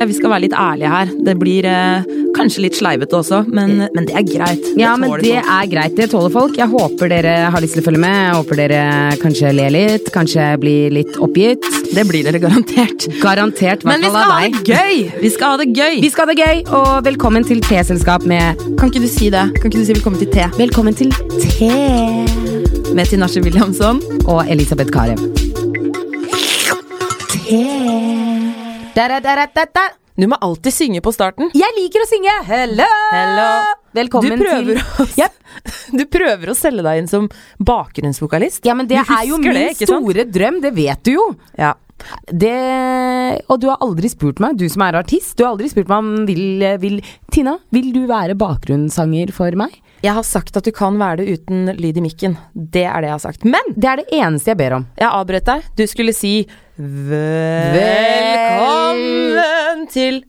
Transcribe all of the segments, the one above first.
Ja, vi skal være litt ærlige her. Det blir eh, kanskje litt sleivete også, men, men det er greit. Det Ja, men tåler det folk. er greit. Det tåler folk. Jeg håper dere har lyst til å følge med. Jeg håper dere kanskje ler litt, kanskje blir litt oppgitt. det blir dere garantert. Garantert, i Men vi hvert skal fall av ha deg. det gøy! Vi skal ha det gøy! Vi skal ha det gøy, og velkommen til T-selskap med Kan ikke du si det? Kan ikke du si velkommen til te? Velkommen til T Med Tinashe Williamson. og Elisabeth Karev. Te. Du må alltid synge på starten. Jeg liker å synge Hello! Hello. Velkommen du prøver, til å, du prøver å selge deg inn som bakgrunnsvokalist. Ja, men det Du er jo min husker det, ikke sant? store drøm, det vet du jo. Ja. Det, og du har aldri spurt meg, du som er artist, du har aldri spurt meg om vil, vil Tina, vil du være bakgrunnssanger for meg? Jeg har sagt at du kan være det uten lyd i mikken. Det er det jeg har sagt. Men Det er det eneste jeg ber om. jeg avbrøt deg. Du skulle si Velkommen til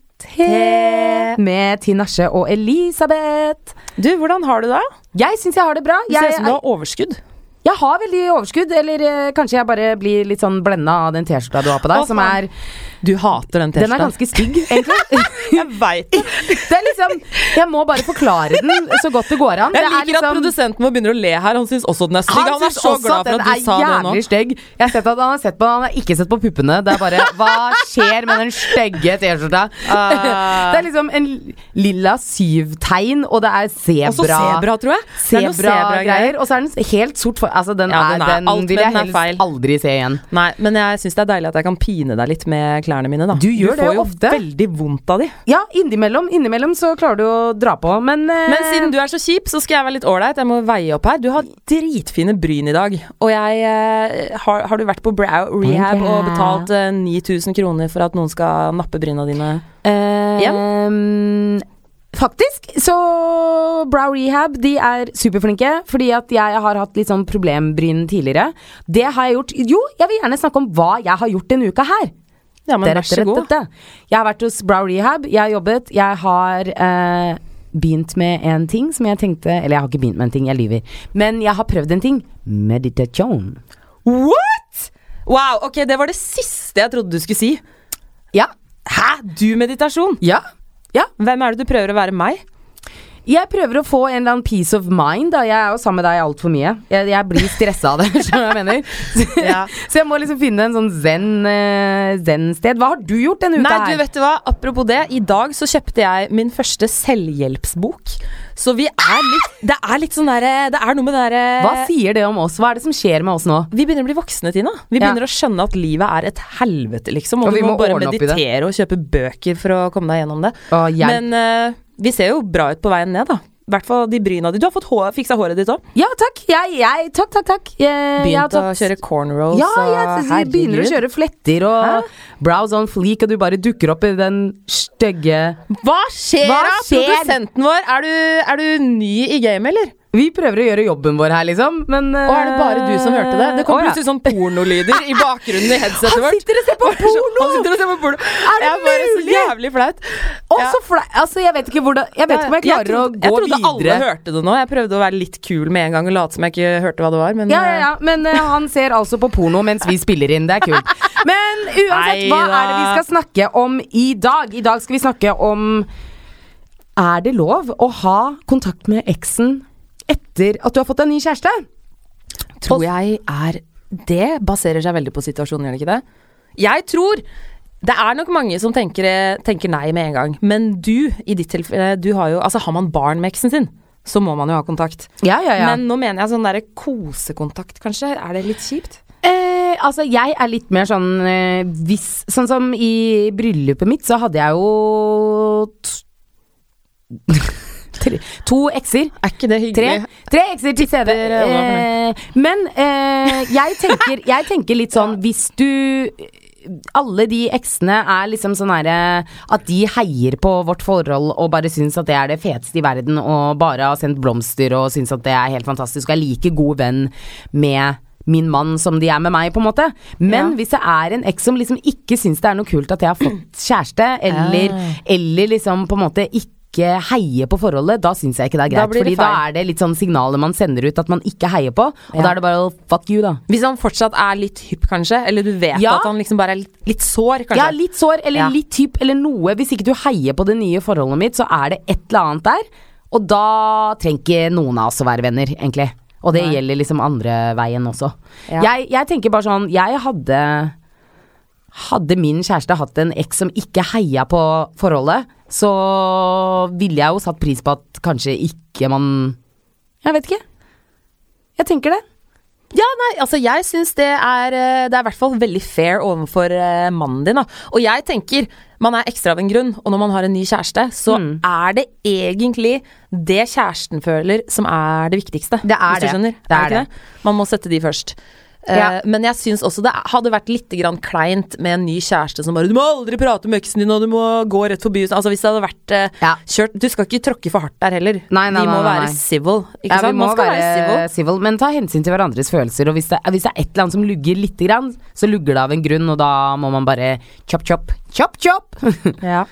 te. Med Tinashe og Elisabeth. Du, hvordan har du det? Jeg syns jeg har det bra. Du ser Jeg, ut som du har overskudd. jeg har veldig overskudd, eller eh, kanskje jeg bare blir litt sånn blenda av den T-skjorta du har på deg, Å, som faen. er Du hater den Den er T-skjorta. ganske stygg, egentlig. Jeg veit det. Det er liksom Jeg må bare forklare den så godt det går an. Jeg Det er liker at liksom- produsenten vår begynner å le her. Han syns også den er stygg. Han, er synes så også glad for den at du sa er det nå. Jævlig stygg. Jeg har sett at han har sett på den, han har ikke sett på puppene. Det er bare Hva skjer med den stygge T-skjorta? Ah. det er liksom en lilla syvtegn, og det er Og så sebra. sebra, tror jeg. Det er noe Sebra-greier. Og så er den helt sort. For, altså, den, Ja, den er, er- den alt med vil jeg den er helst feil. aldri se igjen. Nei, men jeg syns det er deilig at jeg kan pine deg litt med klærne mine, da. Du gjør det får jo ofte. veldig vondt av de. Ja, innimellom, innimellom så klarer du å dra på, men, Men eh, siden du er så kjip, så skal jeg være litt ålreit. Jeg må veie opp her. Du har dritfine bryn i dag. Og jeg eh, har, har du vært på brow rehab Thank you. og betalt eh, 9000 kroner for at noen skal nappe bryna dine? Ehm, Faktisk, så Brow Rehab de er superflinke, fordi at jeg har hatt litt sånn problembryn tidligere. Det har jeg gjort Jo, jeg vil gjerne snakke om hva jeg har gjort denne uka her. Ja, men Dette, vær så dette, god. dette. Jeg har vært hos Brow Rehab, jeg har jobbet, jeg har eh, begynt med en ting som jeg tenkte Eller jeg har ikke begynt med en ting, jeg lyver. Men jeg har prøvd en ting. Meditation. What?! Wow, ok, det var det siste jeg trodde du skulle si. Ja. Hæ? Du meditasjon? Ja. Ja. Hvem er det du prøver å være meg? Jeg prøver å få en eller annen peace of mind. Da. Jeg er jo sammen med deg altfor mye. Jeg, jeg blir stressa av det. skjønner du hva jeg mener så, Ja. så jeg må liksom finne en sånn zen, eh, zen-sted. Hva har du gjort denne uka? Nei, du her? vet du hva, apropos det, i dag så kjøpte jeg min første selvhjelpsbok. Så vi er litt Det er litt sånn derre Det er noe med det eh, derre Hva sier det om oss? Hva er det som skjer med oss nå? Vi begynner å bli voksne, Tina. Vi Ja. begynner å skjønne at livet er et helvete, liksom. Og, Og vi du må, må bare ordne opp i det. meditere og kjøpe bøker for å komme deg gjennom det. Å, hjelp. Men eh, vi ser jo bra ut på veien ned, da. I hvert fall de bryna di. Du har fått hår, fiksa håret ditt òg. Ja, takk. Jeg, jeg Takk, takk, takk. Jeg, jeg har Begynt å tatt- kjøre cornrows Ja, og jeg, jeg begynner å herregud. kjøre fletter og Hæ? brows on fleak, og du bare dukker opp i den stygge Hva skjer Hva da, skjer? produsenten vår? Er du, er du ny i gamet, eller? Vi prøver å gjøre jobben vår her, liksom, men eh, Og er det bare du som hørte det? Det kom plutselig sånn pornolyder i bakgrunnen i headsetet Han vårt. sitter og ser på porno! Han sitter og ser på porno. det jeg er bare så mulig? jævlig flaut. Og Ja. så flau Altså, jeg vet ikke hvordan Jeg vet ikke om jeg klarer trodde, å gå Jeg trodde videre. alle hørte det nå. Jeg prøvde å være litt kul med en gang og late som jeg ikke hørte hva det var, men Ja, ja, ja, men eh, han ser altså på porno mens vi spiller inn. Det er kult. Men uansett, hva Neida. er det vi skal snakke om i dag? I dag skal vi snakke om Er det lov å ha kontakt med eksen etter at du har fått deg ny kjæreste? eh, tror jeg er Det baserer seg veldig på situasjonen, gjør det ikke det? Jeg tror det er nok mange som tenker, eh, tenker nei med en gang, men du, i ditt tilfelle, du har jo Altså, har man barn med eksen sin, så må man jo ha kontakt. Ja, ja, ja. Men nå mener jeg sånn derre kosekontakt, kanskje. Er det litt kjipt? Eh, altså, jeg er litt mer sånn eh, hvis Sånn som i bryllupet mitt, så hadde jeg jo t tre, To ekser. Er ikke det Tre, hyggelig? tre ekser til stede. Tipper alle var Eh, men eh, jeg, tenker, jeg tenker litt sånn Hvis du alle de eksene er liksom sånn herre At de heier på vårt forhold og bare syns at det er det feteste i verden, og bare har sendt blomster og syns at det er helt fantastisk, og er like god venn med min mann som de er med meg, på en måte. Men Ja. hvis det er en eks som Ah. liksom ikke syns det er noe kult at jeg har fått kjæreste, eller, eller liksom på en måte ikke ikke heier på forholdet, da syns jeg ikke det er Da greit. blir fordi det da feil. er det litt sånn signaler man sender ut at man ikke heier på, og Ja. da er det bare å fuck you, da. Hvis han fortsatt er litt hypp, kanskje, eller du vet Ja. at han liksom bare er litt, litt sår, kanskje. Ja, litt sår eller Ja. litt typ eller noe. Hvis ikke du heier på det nye forholdet mitt, så er det et eller annet der. Og da trenger ikke noen av oss å være venner, egentlig. Og det Nei. gjelder liksom andre veien også. Ja. Jeg, jeg tenker bare sånn Jeg hadde Hadde min kjæreste hatt en eks som ikke heia på forholdet, så ville jeg jo satt pris på at kanskje ikke man Jeg vet ikke. Jeg tenker det. Ja, nei, altså jeg syns det er eh, Det er i hvert fall veldig fair overfor eh, mannen din, da. Og jeg tenker, man er ekstra av en grunn, og når man har en ny kjæreste, så Mm. er det egentlig det kjæresten føler som er det viktigste. Det er hvis du det. skjønner. Det er ikke det. Man må sette de først. Eh, Ja. Men jeg syns også det hadde vært litt grann kleint med en ny kjæreste som bare 'Du må aldri prate med eksen din, og du må gå rett forbi' Altså Hvis det hadde vært eh, Ja. kjørt Du skal ikke tråkke for hardt der heller. Nei, nei, vi må nei, nei, være nei. civil. Ikke Ja, sant? vi må Man skal være civil. være civil, men ta hensyn til hverandres følelser. Og hvis det, hvis det er et eller annet som lugger lite grann, så lugger det av en grunn, og da må man bare chop, chop, chop, chop. Ja.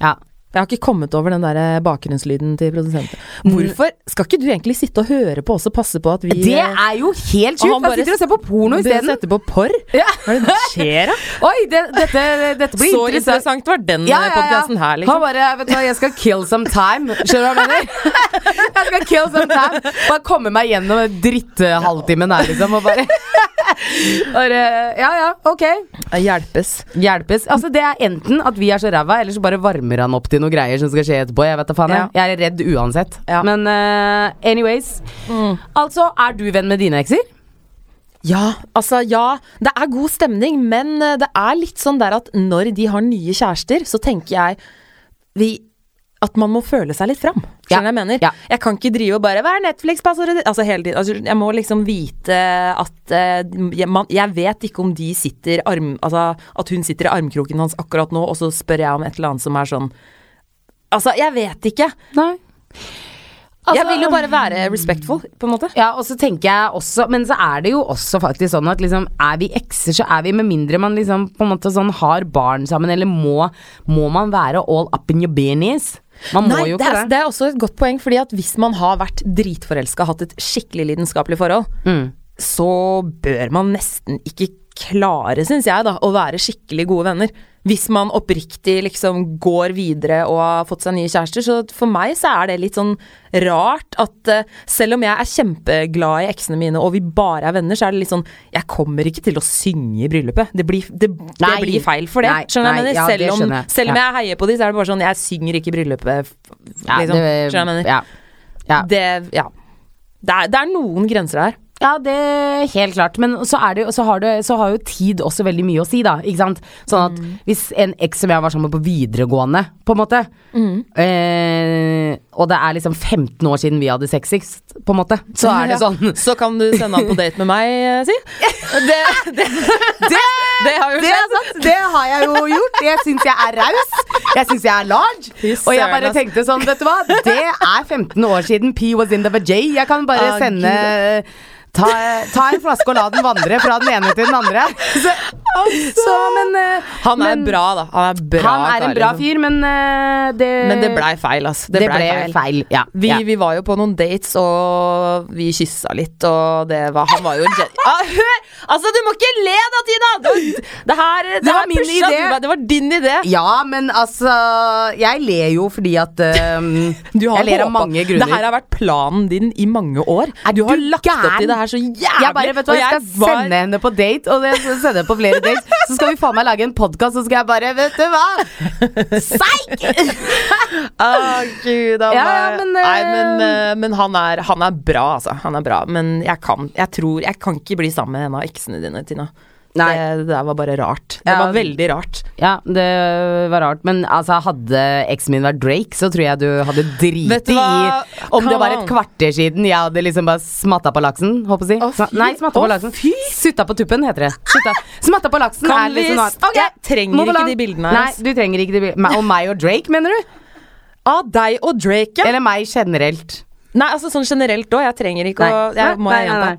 ja. Jeg har ikke kommet over den der eh, bakgrunnslyden til produsenten. Hvorfor skal ikke du egentlig sitte og høre på oss og passe på at vi Det eh, er jo og han helt sjukt! Han bare sitter og ser på porno Dere isteden. setter på porr? Ja. Hva er det som skjer, da? Oi, det, dette, dette blir Så interessant. interessant var den Ja, ja, ja. podkasten her, liksom. Han bare Vet du hva, jeg skal kill some time. Skjønner du hva jeg mener? jeg skal kill some time. Bare komme meg gjennom den dritthalvtimen her, liksom, og bare Bare Ja ja, ok. Eh, Hjelpes. Hjelpes. Altså Det er enten at vi er så ræva, eller så bare varmer han opp til noen greier som skal skje etterpå. Jeg vet da faen jeg. Jeg er redd uansett. Ja. Mm. Men eh, anyways. Altså, er du venn med dine ekser? Ja, altså ja. Det er god stemning, men eh, det er litt sånn der at når de har nye kjærester, så tenker jeg vi, at man må føle seg litt fram. Ja, Skjønner du hva jeg mener? ja. Jeg Jeg kan ikke drive og bare 'Hva er Netflix-passordet ditt?' Altså, hele tiden. Altså, jeg må liksom vite at eh, jeg, man, jeg vet ikke om de sitter arm... Altså, at hun sitter i armkroken hans akkurat nå, og så spør jeg om et eller annet som er sånn Altså, jeg vet ikke. Nei. Altså, jeg vil jo bare være respectful, på en måte. Ja, og så tenker jeg også Men så er det jo også faktisk sånn at liksom Er vi ekser, så er vi med mindre man liksom på en måte sånn har barn sammen, eller må Må man være all up in your beanies? Man må Nei, jo det, ikke er, det. det er også et godt poeng, fordi at hvis man har vært dritforelska, hatt et skikkelig lidenskapelig forhold, Mm. så bør man nesten ikke klare, syns jeg, da, å være skikkelig gode venner. Hvis man oppriktig liksom går videre og har fått seg nye kjærester. Så for meg så er det litt sånn rart at eh, selv om jeg er kjempeglad i eksene mine og vi bare er venner, så er det litt sånn Jeg kommer ikke til å synge i bryllupet. Det blir, det, det Nei. blir feil for det. Nei, skjønner du nei, hva jeg ja, mener? det selv om, skjønner jeg. selv om Ja. jeg heier på de, så er det bare sånn Jeg synger ikke i bryllupet, f- Ja, liksom. det- Skjønner du hva jeg mener? ja. Ja. Det, ja. Det, er, det er noen grenser her. Ja, det helt klart. Men så, er det, jo- så, har det, så har jo tid også veldig mye å si, da. Ikke sant? Sånn at hvis en eks som jeg var sammen med på videregående, på en måte eh, Og det er liksom 15 år siden vi hadde sex sist, på en måte, så er det Ja. sånn Så kan du sende han på date med meg, eh, si. Det, det, det, har jo Det er skjedd. sant, det har jeg jo gjort. Jeg syns jeg er raus. Jeg syns jeg er large. Fy Og jeg søren, bare ass. tenkte sånn, vet du hva. Det er 15 år siden P was in the vajay. Jeg kan bare Ah, sende ta, ta en flaske og la den vandre fra den ene til den andre. Så, så men eh, Han er men- bra, da. Han er, bra, han er en kar, bra liksom. fyr, men eh, det Men det blei feil, altså. det Det, blei ble feil. feil. Ja. Vi, ja. vi var jo på noen dates, og vi kyssa litt, og det var Han var jo en gen- ah, Hør! Altså, du må ikke le da, Tina! Det, det her Det, var her min pusha idé. du meg. Det var din idé. Ja, men altså Jeg ler jo fordi at eh, Du har Jeg ler av håpet- mange grunner. Det her har vært planen din i mange år. Er Du har du lagt opp gæren? til det her så jævlig. Jeg bare, vet du hva, og jeg jeg skal var- sende henne på date, og jeg skal sende henne på flere dates. Så skal vi faen meg lage en podkast, så skal jeg bare Vet du hva! Seik! Å, gud a Ja, meg. ja, men, Nei, eh, men, eh, men han, er, han er bra, altså. Han er bra. Men jeg kan, jeg tror, jeg kan ikke bli sammen med en av eksene dine, Tina. Nei. Det, det der var bare rart. Det Ja. var veldig rart. Ja, det var rart, men altså, hadde eksen min vært Drake, så tror jeg du hadde Vet du driti i hva? om det Come var et on. kvarter siden jeg hadde liksom bare smatta på laksen, håper jeg å Å, si. Sma- fy. Nei, smatta Å, på laksen. Sutta på tuppen, heter det. Sutta. Smatta på laksen Kan er vi liksom noe annet. s- Jeg trenger move ikke along. de bildene Nei, hennes. du trenger ikke de bildene. Og meg og Drake, mener du? Av deg og Drake, ja. Eller meg generelt? Nei, altså sånn generelt òg. Jeg trenger ikke å jeg, Må jeg gjenta?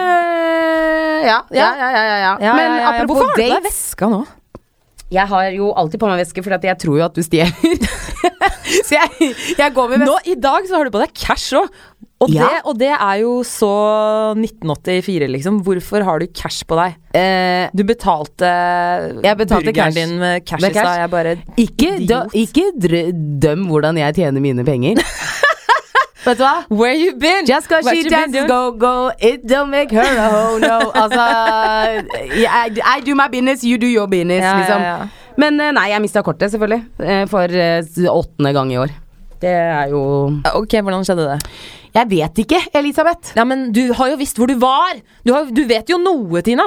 Eh, ja, ja, ja, ja, ja, ja. Ja, Men ja, ja, ja. apropos Hvorfor har du deg dates veska nå? Jeg har jo alltid på meg veske, for jeg tror jo at du stjeler. Så jeg, jeg går med Nå, I dag så har du på deg cash òg. Og, Ja. det, og det er jo så 1984, liksom. Hvorfor har du cash på deg? Eh, Du betalte, Jeg betalte burgeren cash. din med cash i Med stad. cash. Jeg bare ikke dø, Idiot. ikke dr- døm hvordan jeg tjener mine penger. Vet du hva? Where you been? Just cause What she you been doing? dances go go, it don't make her a ho no. Altså I, I do my business, you do your business, Ja, ja, liksom. ja. Men eh, nei, jeg mista kortet, selvfølgelig. eh, For eh, s- åttende gang i år. Det er jo Ok, hvordan skjedde det? Jeg vet ikke, Elisabeth. Ja, men du har jo visst hvor du var! Du, har, du vet jo noe, Tina!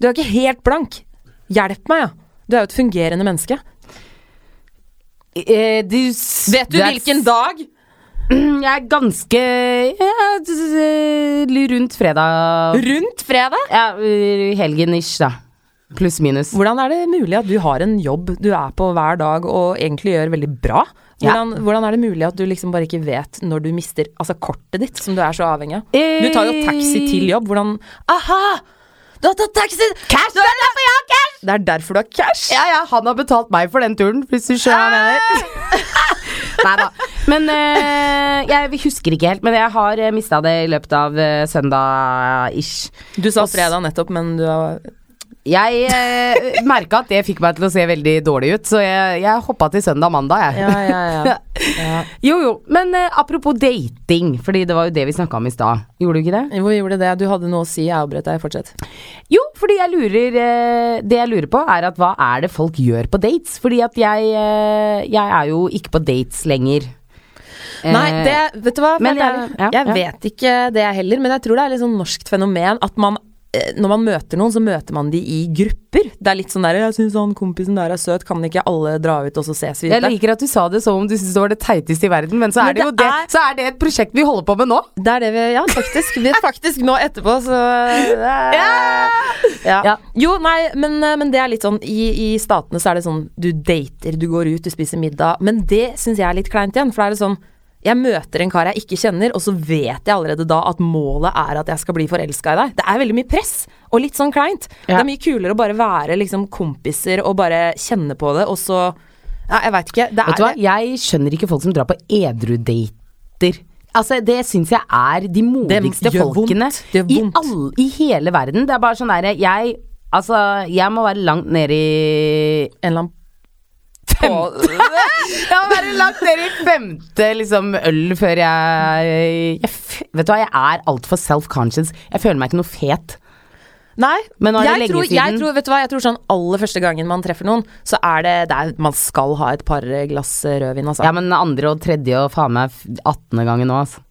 Du er ikke helt blank. Hjelp meg, ja. Du er jo et fungerende menneske. Eh, du s- Vet du er- hvilken dag? Jeg er ganske ja, d- d- d- rundt fredag. Rundt fredag? Ja, eh, helgen-ish, da. Pluss minus. Hvordan er det mulig at du har en jobb du er på hver dag og egentlig gjør veldig bra? Ja. Hvordan, hvordan er det mulig at du liksom bare ikke vet når du mister altså kortet ditt, som du er så avhengig av? Du tar jo taxi til jobb. Hvordan Eh. Aha! Du har tatt taxi! Cash! Du Det har- er derfor jeg har cash! Det er derfor du har cash! Ja, ja, han har betalt meg for den turen, hvis du skjønner hva jeg mener. Nei da. Men eh, jeg husker ikke helt, men jeg har uh, mista det i løpet av eh, søndag-ish. Du sa fredag nettopp, men du har Jeg uh, merka at det fikk meg til å se veldig dårlig ut, så jeg, jeg hoppa til søndag-mandag, jeg. Ja, ja, ja. ja. Jo, jo. Men eh, apropos dating, fordi det var jo det vi snakka om i stad. Gjorde du ikke det? Hvor gjorde det? Du hadde noe å si, jeg avbrøt deg. Fortsett. Jo, fordi jeg lurer eh, Det jeg lurer på, er at hva er det folk gjør på dates? Fordi at jeg eh, Jeg er jo ikke på dates lenger. Nei, Eh, det, vet du hva? men Helt ærlig, jeg- ja, jeg ja. vet ikke det jeg heller, men jeg tror det er litt sånn norskt fenomen at man eh, når man møter noen, så møter man de i grupper. Det er litt sånn der 'Jeg syns han kompisen der er søt, kan ikke alle dra ut, og så ses vi Jeg ute?' liker at du sa det som om du syntes det var det teiteste i verden, men så Men er det, jo det det, er- så er det et prosjekt vi holder på med nå. Det er det vi Ja, faktisk. Vi faktisk nå etterpå, så eh, ja. Ja. Jo, nei, men, men det er litt sånn i, I statene så er det sånn du dater, du går ut, du spiser middag. Men det syns jeg er litt kleint igjen, for det er litt sånn jeg møter en kar jeg ikke kjenner, og så vet jeg allerede da at målet er at jeg skal bli forelska i deg. Det er veldig mye press, og litt sånn kleint. Det Ja. er mye kulere å bare være liksom kompiser og bare kjenne på det, og så ja, Jeg veit ikke. Det er Vet du hva, jeg skjønner ikke folk som drar på edru-dater. Altså, Det syns jeg er de modigste gjør folkene vondt. Det gjør i, vondt. all, i hele verden. Det er bare sånn derre jeg, altså, jeg må være langt nede i en eller annen på, Jeg må være langt ned i femte liksom, øl før jeg, jeg f- Vet du hva, jeg er altfor self-conscious. Jeg føler meg ikke noe fet. Nei, Men nå er det jeg, lenge tror, jeg siden. tror Vet du hva, jeg tror sånn aller første gangen man treffer noen, så er det, det er, Man skal ha et par glass eh, rødvin, altså. Ja, men andre og tredje og faen meg f- 18. gangen nå, altså.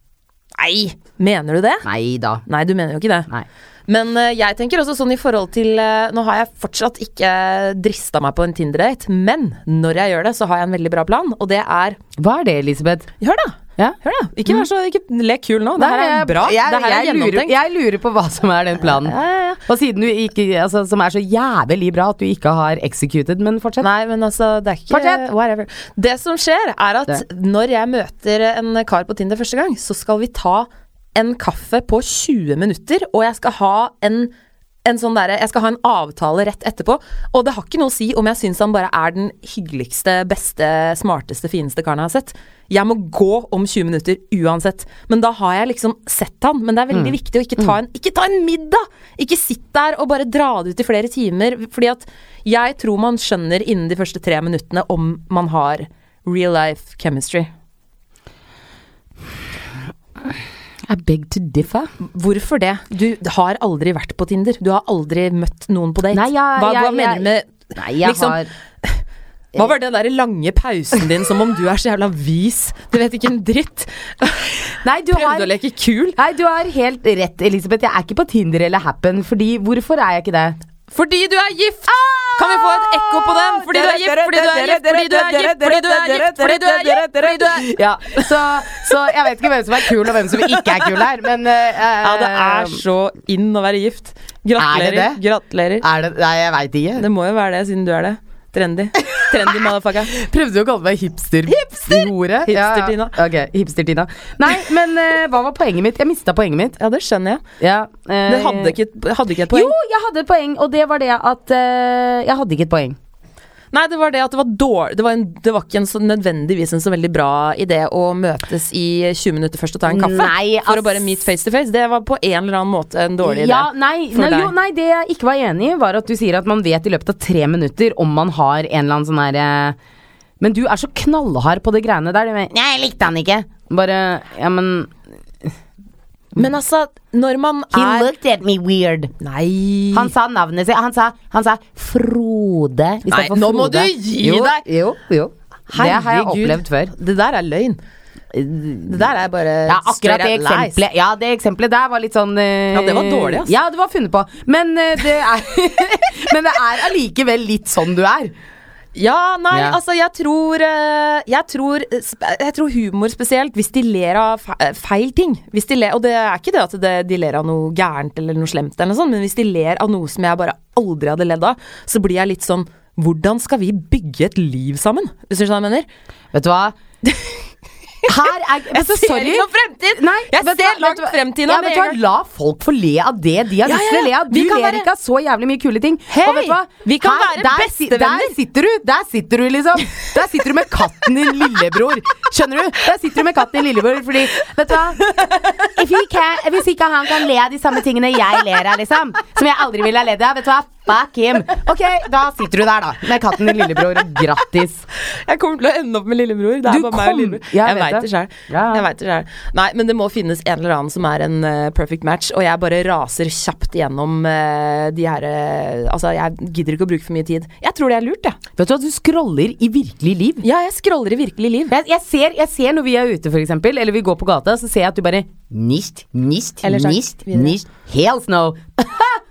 Nei! Mener du det? Nei da. Nei, du mener jo ikke det. Nei. Men eh, jeg tenker også sånn i forhold til eh, Nå har jeg fortsatt ikke drista meg på en Tinder-date, men når jeg gjør det, så har jeg en veldig bra plan, og det er Hva er det, Elisabeth? Hør, da! Ja? Mm. Hør da. Ikke vær så ikke, lek kul nå. Det her Nei, er jeg- bra. Jeg, det her er jeg, lurer, gjennomtenkt. jeg lurer på hva som er den planen. Ja, ja, ja. Og siden du ikke altså, Som er så jævlig bra at du ikke har executed, men fortsett. Nei, men altså, det er ikke Fortsett! Whatever. Det som skjer, er at når jeg møter en kar på Tinder første gang, så skal vi ta en kaffe på 20 minutter, og jeg skal ha en en sånn derre- jeg skal ha en avtale rett etterpå, og det har ikke noe å si om jeg syns han bare er den hyggeligste, beste, smarteste, fineste karen jeg har sett. Jeg må gå om 20 minutter uansett. Men da har jeg liksom sett han. Men det er Mm. veldig viktig å ikke ta, en, ikke ta en middag! Ikke sitt der og bare dra det ut i flere timer. Fordi at jeg tror man skjønner innen de første tre minuttene om man har real life chemistry. I beg to differ. Hvorfor det? Du har aldri vært på Tinder. Du har aldri møtt noen på date. Nei, jeg- hva, hva jeg- mener du med Nei, jeg Liksom- har Hva var den der lange pausen din, som om du er så jævla vis? Du vet ikke en dritt. Nei, du har Prøvde å leke kul. Nei, du har helt rett, Elisabeth. Jeg er ikke på Tinder eller Happen, fordi hvorfor er jeg ikke det? Fordi du er gift! Kan vi få et ekko på den? Fordi du er gift, fordi du er gift, fordi du er gift, fordi du er gift, fordi du er gift, fordi du er Ah, Ja, så, så jeg vet ikke hvem som er kul, og hvem som ikke er kul her, men eh, Ja, det er så inn å være gift. Er det Gratulerer. det? Gratulerer. er det Nei, jeg veit ikke. Det må jo være det, siden du er det. Trendy. Trendy motherfucker. Prøvde jo å kalle meg hipster. Hipster! Hipster-Tina. Ok, hipster-Tina. Nei, men eh, hva var poenget mitt? Jeg mista poenget mitt. Ja, det skjønner jeg. Ja, eh, Det hadde ikke, hadde ikke et poeng. Jo, jeg hadde et poeng, og det var det at eh, Jeg hadde ikke et poeng. Nei, det var det at det var dårlig Det var, en, det var ikke en så, nødvendigvis en så veldig bra idé å møtes i 20 minutter først og ta en kaffe. Nei, for ass. å bare meet face to face. Det var på en eller annen måte en dårlig idé. ja, nei, for nei, deg. jo, nei, det jeg ikke var enig i, var at du sier at man vet i løpet av tre minutter om man har en eller annen sånn herre Men du er så knallhard på de greiene der. Du mener, nei, jeg likte han ikke. Bare Ja, men Men altså, når man er looked at me weird. Nei. Han sa navnet sitt. Han sa, han sa Frode i stedet Nei, for nå må Frode. du gi jo, deg! Jo, jo. Det har jeg Herregud. opplevd før. Det der er løgn. Det der er bare Ja, akkurat straight det up lies. eksempelet. Ja, det eksempelet der var litt sånn eh, Ja, det var dårlig, altså. ass. Ja, det var funnet på. Men eh, det er Men det er allikevel litt sånn du er. Ja, nei, Ja. altså jeg tror, eh, jeg tror eh, sp- Jeg tror humor spesielt, hvis de ler av fe- eh, feil ting hvis de ler, Og det er ikke det at det, de ler av noe gærent eller noe slemt, eller noe sånt, men hvis de ler av noe som jeg bare aldri hadde ledd av, så blir jeg litt sånn Hvordan skal vi bygge et liv sammen? Hvis du skjønner hva jeg mener? Vet du hva? Her er Jeg ser ikke noen fremtid. Jeg vet du ser hva- langt vet du hva- frem, Tina, Ja, med vet en du hva? gang. La folk få le av det de har Ja, lyst ja, til å le ja. av. Du Vi kan ler være- ikke av så jævlig mye kule ting. Hei, og vet du hva? vi kan være der, si- bestevenner. Der sitter du, der sitter du liksom. Der sitter du med katten din, lillebror. Skjønner du? Der sitter du med katten din, lillebror, fordi Vet du hva? If he can, hvis ikke han kan le av de samme tingene jeg ler av, liksom, som jeg aldri ville ha ledd av, vet du hva? Fuck him. Ok, da sitter du der, da. Med katten din, lillebror. Grattis. Jeg kommer til å ende opp med lillebror. Det er bare Du meg kom- og lillebror. Jeg Jeg, vet vet det. det selv. Ja. jeg vet det selv. Nei, men det må finnes en eller annen som er en eh, perfect match, og jeg bare raser kjapt gjennom eh, de her eh, Altså, jeg gidder ikke å bruke for mye tid. Jeg tror det er lurt, jeg. Vet du hva, du scroller i virkelig liv. Ja, jeg scroller i virkelig liv. Jeg, jeg, ser, jeg ser når vi er ute, for eksempel, eller vi går på gata, så ser jeg at du bare Nist, nist, Eller sagt nist, videre. nist. Hells no! Ja.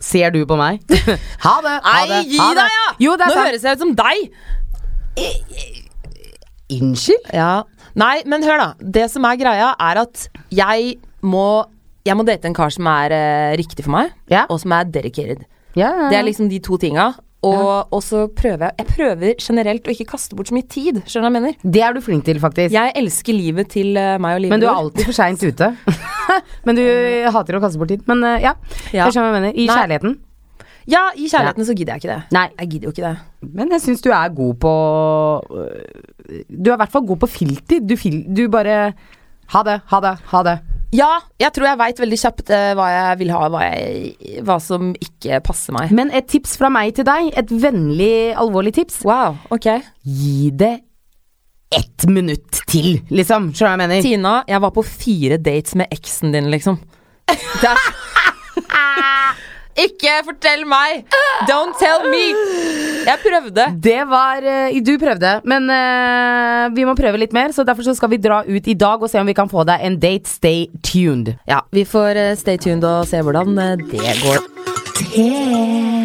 Ser du på meg? ha det! Ha det! Nei, gi ha det. deg, ja! Jo, det Nå er sant. høres jeg ut som deg! Unnskyld? Ja. Nei, men hør, da. Det som er greia, er at jeg må jeg må date en kar som er eh, riktig for meg, Ja. og som er dedicated. Ja, ja, ja. Det er liksom de to tinga. Og, og så prøver jeg Jeg prøver generelt å ikke kaste bort så mye tid. Skjønner du hva jeg mener? Det er du flink til, faktisk. Jeg elsker livet til eh, meg og livet Men du er vårt. alltid for seint ute. men du hater å kaste bort tid. Men eh, ja, Ja. jeg skjønner hva jeg mener. I Nei. kjærligheten. Ja, i kjærligheten så gidder jeg ikke det. Nei. Jeg gidder jo ikke det. Men jeg syns du er god på øh, Du er i hvert fall god på filter. Du, fil, du bare Ha det, ha det, ha det. Ja, jeg tror jeg veit veldig kjapt eh, hva jeg vil ha, hva, jeg, hva som ikke passer meg. Men et tips fra meg til deg, et vennlig, alvorlig tips. Wow, ok. Gi det ett minutt til, liksom. Skjønner du hva jeg mener? Tina, jeg var på fire dates med eksen din, liksom. Det er... ikke fortell meg! Don't tell me! Jeg prøvde. Det var eh, Du prøvde, men eh, vi må prøve litt mer. Så derfor så skal vi dra ut i dag og se om vi kan få deg en date. Stay tuned. Ja, vi får eh, stay tuned og se hvordan eh, det går. P3.